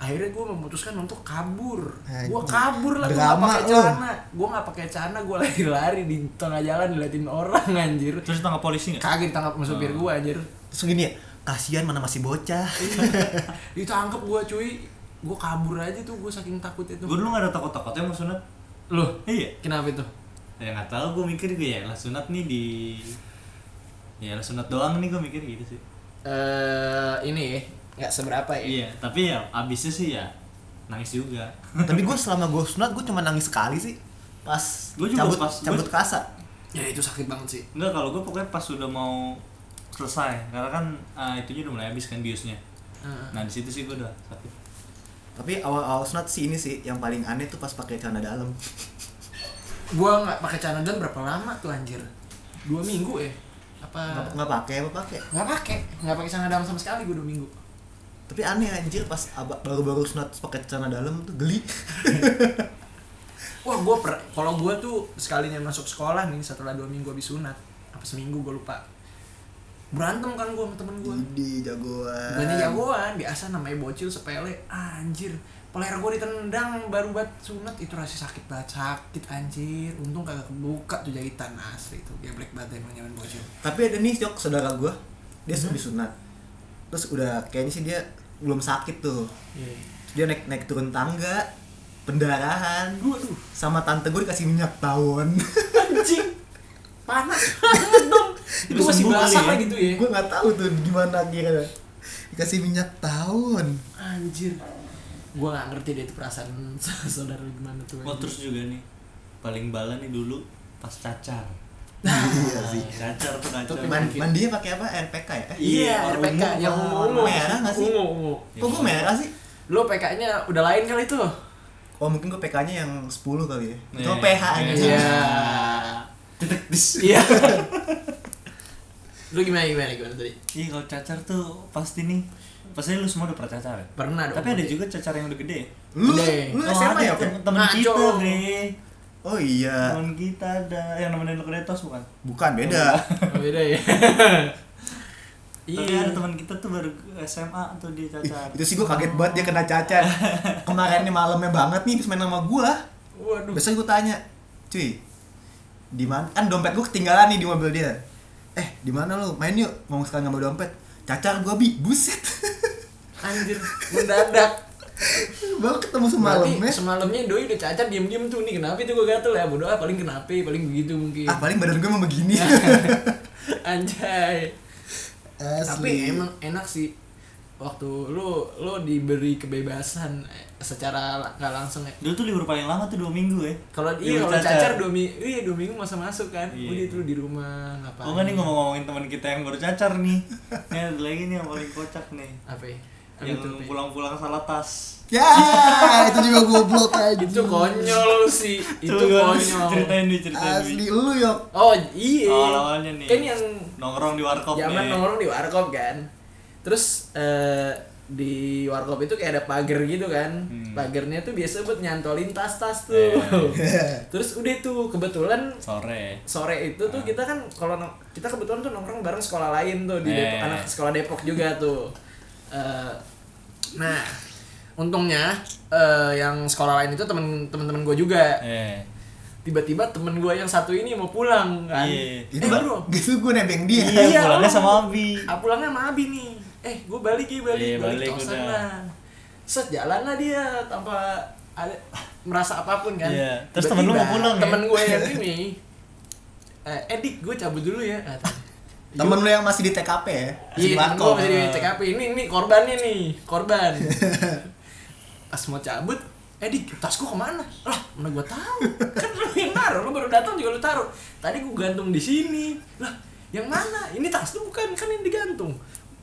Speaker 2: Akhirnya gue memutuskan untuk kabur. Gue
Speaker 4: Anjing.
Speaker 2: kabur lah, gue gak
Speaker 4: Nah, Drama
Speaker 2: pakai
Speaker 4: lu.
Speaker 2: celana. Gue gak pakai celana, gue lari-lari di tengah jalan diliatin orang anjir.
Speaker 3: Terus tangkap polisi nggak?
Speaker 2: Kaget ditangkap sama supir gue anjir.
Speaker 4: Terus gini ya, kasihan mana masih bocah.
Speaker 2: Ditangkap gue cuy. Gue kabur aja tuh, gue saking takut itu.
Speaker 3: Gue dulu nggak ada takut-takutnya mau sunat.
Speaker 2: Loh,
Speaker 3: Iya.
Speaker 2: kenapa itu?
Speaker 3: Ya nggak tahu gue mikir gue ya lah sunat nih di ya lah sunat doang nih gue mikir gitu sih.
Speaker 2: Eh, ini ya, nggak seberapa ya.
Speaker 3: Iya, tapi ya abisnya sih ya nangis juga.
Speaker 4: Tapi gue selama gue sunat gue cuma nangis sekali sih. Pas
Speaker 3: Gua juga
Speaker 4: cabut
Speaker 3: pas-
Speaker 4: cabut
Speaker 3: gua-
Speaker 4: kasa.
Speaker 2: Ya itu sakit banget sih.
Speaker 3: Enggak kalau gue pokoknya pas sudah mau selesai karena kan eh, itunya udah mulai habis kan biusnya.
Speaker 2: Heeh.
Speaker 3: Nah di situ sih gue udah sakit.
Speaker 4: Tapi awal-awal sunat sih ini sih yang paling aneh tuh pas pakai celana dalam.
Speaker 2: gua nggak pakai celana dalam berapa lama tuh anjir dua minggu ya apa
Speaker 4: Nggak nggak pakai apa pakai.
Speaker 2: nggak pakai nggak pakai celana dalam sama sekali gua dua minggu
Speaker 4: Tapi aneh anjir pas aba- baru-baru sunat terus pakai celana dalam tuh geli.
Speaker 2: wah gua per- kalau gua tuh sekalinya masuk sekolah nih setelah dua minggu habis sunat apa seminggu gua lupa berantem kan gue sama temen gue
Speaker 4: Jadi jagoan.
Speaker 2: bukannya jagoan biasa namanya bocil sepele ah, anjir peler gue ditendang baru buat sunat itu rasa sakit banget sakit anjir untung kagak kebuka tuh jahitan asli itu geblek banget emang nyaman bocil
Speaker 4: Tapi ada nih jok saudara gua, dia sudah disunat. Terus udah kayaknya sih dia belum sakit tuh. Dia naik naik turun tangga, pendarahan.
Speaker 2: Waduh.
Speaker 4: Sama tante gua dikasih minyak tawon.
Speaker 2: anjing panas banget dong itu
Speaker 3: Terus
Speaker 2: masih
Speaker 3: sembuh
Speaker 2: basah
Speaker 3: kali ya?
Speaker 2: lah gitu ya
Speaker 4: gua nggak tahu tuh gimana kira. Dikasih minyak tawon.
Speaker 2: anjir gue gak ngerti deh itu perasaan saudara lu gimana tuh
Speaker 4: Nah, iya.
Speaker 3: Oh terus juga nih paling bala nih dulu pas cacar.
Speaker 4: iya
Speaker 3: Nah, cacar tuh cacar.
Speaker 2: Tapi
Speaker 4: Man,
Speaker 2: Mungkin.
Speaker 4: mandinya pakai apa? RPK ya?
Speaker 2: iya
Speaker 4: Eh,
Speaker 3: Iya,
Speaker 2: RPK
Speaker 3: ungu
Speaker 2: yang
Speaker 3: apa?
Speaker 2: ungu
Speaker 4: Merah nggak sih?
Speaker 2: ungu ungu
Speaker 4: Kok gua merah sih?
Speaker 2: lo PK nya udah lain kali tuh
Speaker 4: Oh mungkin gua PK-nya yang 10 kali ya. Itu
Speaker 3: Nih,
Speaker 4: PH
Speaker 3: nih.
Speaker 4: aja.
Speaker 2: Iya.
Speaker 3: Tetek dis.
Speaker 2: iya lu gimana gimana gimana tadi
Speaker 3: Iya kalau cacar tuh pasti nih pasti lu semua udah pernah cacar ya?
Speaker 2: pernah dong
Speaker 3: Tapi ada juga cacar yang udah gede
Speaker 4: Lu
Speaker 2: Deh.
Speaker 4: lu
Speaker 3: Oh,
Speaker 4: SMA
Speaker 3: ada
Speaker 4: ya?
Speaker 3: tem-
Speaker 4: Pep?
Speaker 3: Temen
Speaker 2: Ngaco.
Speaker 3: kita bre
Speaker 4: Oh iya.
Speaker 3: Temen kita ada Yang nemenin lu ke detos bukan?
Speaker 4: Bukan beda.
Speaker 3: Iya.
Speaker 2: Oh, beda ya
Speaker 3: Tapi
Speaker 2: iya
Speaker 3: ada teman kita tuh baru SMA tuh dia
Speaker 4: Ih,
Speaker 3: cacar
Speaker 4: itu sih gue kaget banget dia kena cacat kemarin nih malamnya banget nih habis main sama gue
Speaker 2: Iya. waduh
Speaker 4: besok gue tanya cuy di mana kan dompet gue ketinggalan nih di mobil dia eh di mana lu main yuk mau sekali ngambil dompet cacar gue bi buset
Speaker 2: anjir mendadak
Speaker 4: baru ketemu
Speaker 2: Berarti
Speaker 4: semalamnya
Speaker 2: semalamnya doi udah cacat diem-diem tuh nih kenapa itu gue gatel ya bodoh ah paling kenapa paling begitu mungkin
Speaker 4: ah paling badan gue emang begini
Speaker 2: anjay
Speaker 4: Asli.
Speaker 2: tapi emang enak sih waktu lu lu diberi kebebasan eh, secara la- nggak langsung ya
Speaker 3: Dulu tuh libur paling lama tuh 2 minggu ya
Speaker 2: kalau iya
Speaker 3: Libur
Speaker 2: kalau cacar dua minggu iya dua minggu masa masuk kan
Speaker 3: Iya.
Speaker 2: udah itu lu di rumah ngapain
Speaker 3: Oh kan nih ngomong-ngomongin teman kita yang baru cacar nih Ini ada lagi nih yang paling kocak nih
Speaker 2: apa ya? Apa
Speaker 3: Yang
Speaker 2: itu, Pe?
Speaker 3: pulang-pulang salah tas
Speaker 4: ya itu juga goblok aja
Speaker 2: itu gitu, konyol sih itu
Speaker 3: Coba
Speaker 2: konyol
Speaker 3: Ceritain nih ceritain
Speaker 4: asli
Speaker 3: nih
Speaker 4: lu yuk
Speaker 2: oh iya
Speaker 3: Awal-awalnya nih
Speaker 2: kan yang
Speaker 3: Nongkrong di warkop
Speaker 2: zaman
Speaker 3: nih
Speaker 2: nongkrong di warkop kan terus eh, di warkop itu kayak ada pagar gitu kan
Speaker 3: Hmm.
Speaker 2: pagernya tuh biasa buat nyantolin tas-tas tuh
Speaker 3: Eh.
Speaker 2: terus udah tuh kebetulan
Speaker 3: Sore
Speaker 2: sore itu
Speaker 3: Ah.
Speaker 2: tuh kita kan kalau nong- kita kebetulan tuh nongkrong bareng sekolah lain tuh di Depok,
Speaker 3: Eh.
Speaker 2: anak sekolah Depok juga tuh Eh, nah untungnya eh, yang sekolah lain itu temen temen-temen gue juga
Speaker 3: Eh
Speaker 2: tiba-tiba temen gue yang satu ini mau pulang kan
Speaker 3: Iya.
Speaker 2: Eh,
Speaker 4: itu baru
Speaker 2: bro,
Speaker 4: gitu gue nebeng dia
Speaker 3: Iya
Speaker 2: Iya,
Speaker 3: pulangnya
Speaker 2: lu.
Speaker 3: sama Abi
Speaker 2: Ah pulangnya sama Abi nih. Eh, gue balik ya balik,
Speaker 3: Iya,
Speaker 2: balik,
Speaker 3: balik
Speaker 2: kosan
Speaker 3: udah.
Speaker 2: lah. Set jalan lah dia tanpa ada merasa apapun kan.
Speaker 3: Iya, terus temen lu mau
Speaker 2: Tiba-tiba
Speaker 3: pulang ya?
Speaker 2: Temen gue yang ini. Eh, Edik, gue cabut dulu ya. katanya.
Speaker 4: temen lu yang masih di TKP ya masih di
Speaker 2: Iya, temen gue
Speaker 4: warkop.
Speaker 2: masih di TKP. Ini, ini korbannya nih, korban. Pas mau cabut, Edik, tas gue kemana? Lah, mana gue tahu? Kan lu yang naruh, lu baru datang juga lu taruh. Tadi gue gantung di sini. Lah, yang mana? Ini tas tuh bukan, kan yang digantung.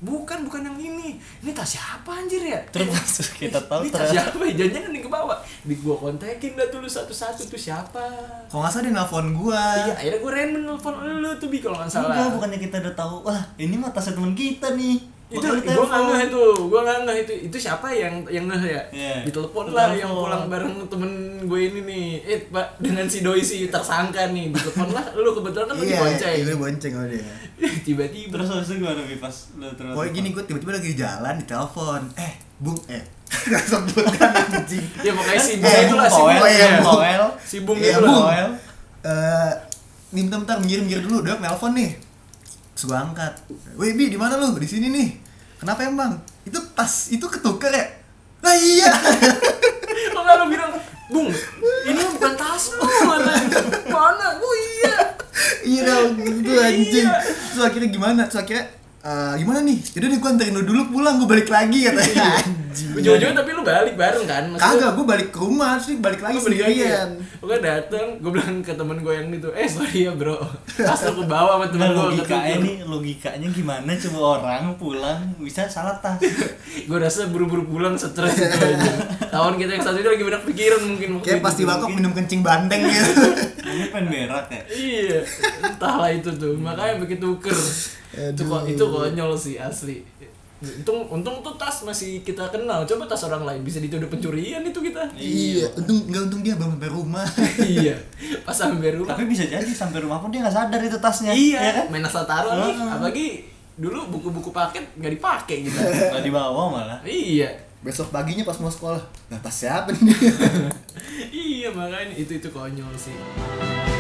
Speaker 2: Bukan, bukan yang ini. Ini tas siapa anjir ya?
Speaker 3: Terus kita tahu
Speaker 2: Ini tas
Speaker 3: ternyata
Speaker 2: siapa ya? Jangan-jangan yang ke bawah. Di gua kontakin dah tuh lu satu-satu tuh siapa.
Speaker 4: Kalau nggak salah dia nelfon gua.
Speaker 2: Iya, akhirnya gue random nelfon lu tuh Bi kalau nggak salah.
Speaker 3: Ah. Enggak, bukannya kita udah tahu, wah ini mah tasnya teman kita nih.
Speaker 2: itu gue
Speaker 3: Makanya
Speaker 2: nggak
Speaker 3: telepon.
Speaker 2: ngeh itu gue nggak ngeh itu itu siapa yang yang ngeh ya
Speaker 3: Iya.
Speaker 2: ditelepon lah
Speaker 3: Telepon.
Speaker 2: yang pulang bareng temen gue ini nih eh pak dengan si doi si tersangka nih ditelepon lah lu kebetulan kan lagi
Speaker 4: Iya,
Speaker 2: bonceng
Speaker 4: iya, lu bonceng sama dia.
Speaker 2: tiba-tiba
Speaker 3: Terus habis itu gimana Bi pas lu terus?
Speaker 4: Pokoknya gini gua tiba-tiba lagi di jalan ditelepon. Eh, Bung, eh. Gak sebutan anjing.
Speaker 2: ya pokoknya si bung
Speaker 4: Eh,
Speaker 2: itu lah si
Speaker 4: Bung
Speaker 2: bung
Speaker 4: Toel,
Speaker 2: ya.
Speaker 4: Bung
Speaker 3: Toel.
Speaker 2: si bung
Speaker 4: Iya,
Speaker 2: itu
Speaker 4: Bung.
Speaker 2: lah
Speaker 3: Noel.
Speaker 4: Eh, nih bentar, bentar minggir-minggir dulu, udah nelpon nih. Terus gua angkat. Woi, Bi, di mana lu? Di sini nih. Kenapa emang? Itu pas itu ketuker ya? Lah iya.
Speaker 2: lo nggak lu bilang bung ini mah bukan tas lu mana mana gue iya
Speaker 4: iya dong, gitu anjing.
Speaker 2: Iya.
Speaker 4: Terus akhirnya gimana? Terus akhirnya eh, gimana nih? Jadi nih gua anterin lu dulu pulang, gua balik lagi
Speaker 2: Iya,
Speaker 4: katanya. Anjing.
Speaker 2: ujung-ujung tapi lu balik bareng kan Maksudnya-
Speaker 4: Kagak, gue balik ke rumah, terus dia balik lagi
Speaker 2: Lu beli lagi ya?
Speaker 4: sendirian
Speaker 2: Gue dateng, gue bilang ke temen gue yang itu, eh sorry ya bro, pas lu ke bawah sama temen
Speaker 3: Nah,
Speaker 2: gue
Speaker 3: logikanya nih, logikanya gimana coba orang pulang bisa salah tas.
Speaker 2: Gue rasa buru-buru pulang stres itu aja. Kawan kita yang satu itu lagi banyak pikiran mungkin waktu
Speaker 4: Kayak
Speaker 2: itu.
Speaker 4: pasti bakok minum kencing bandeng gitu
Speaker 3: Ini pengen berak ya.
Speaker 2: Iya, entahlah itu tuh, makanya begitu ker. Itu, ko- itu konyol sih asli. Untung, untung tuh tas masih kita kenal, coba tas orang lain bisa dituduh pencurian itu kita.
Speaker 4: Iya, untung nggak untung dia belum sampai rumah
Speaker 2: iya, pas sampai rumah.
Speaker 3: Tapi bisa jadi sampai rumah pun dia nggak sadar itu tasnya.
Speaker 2: Iya,
Speaker 3: ya kan?
Speaker 2: main asal taruh nih,
Speaker 3: Heeh.
Speaker 2: apalagi dulu buku-buku paket nggak dipakai gitu
Speaker 3: nggak dibawa malah
Speaker 2: iya
Speaker 4: Besok paginya pas mau sekolah. Nah, tas siapa nih?
Speaker 2: iya makanya itu itu konyol sih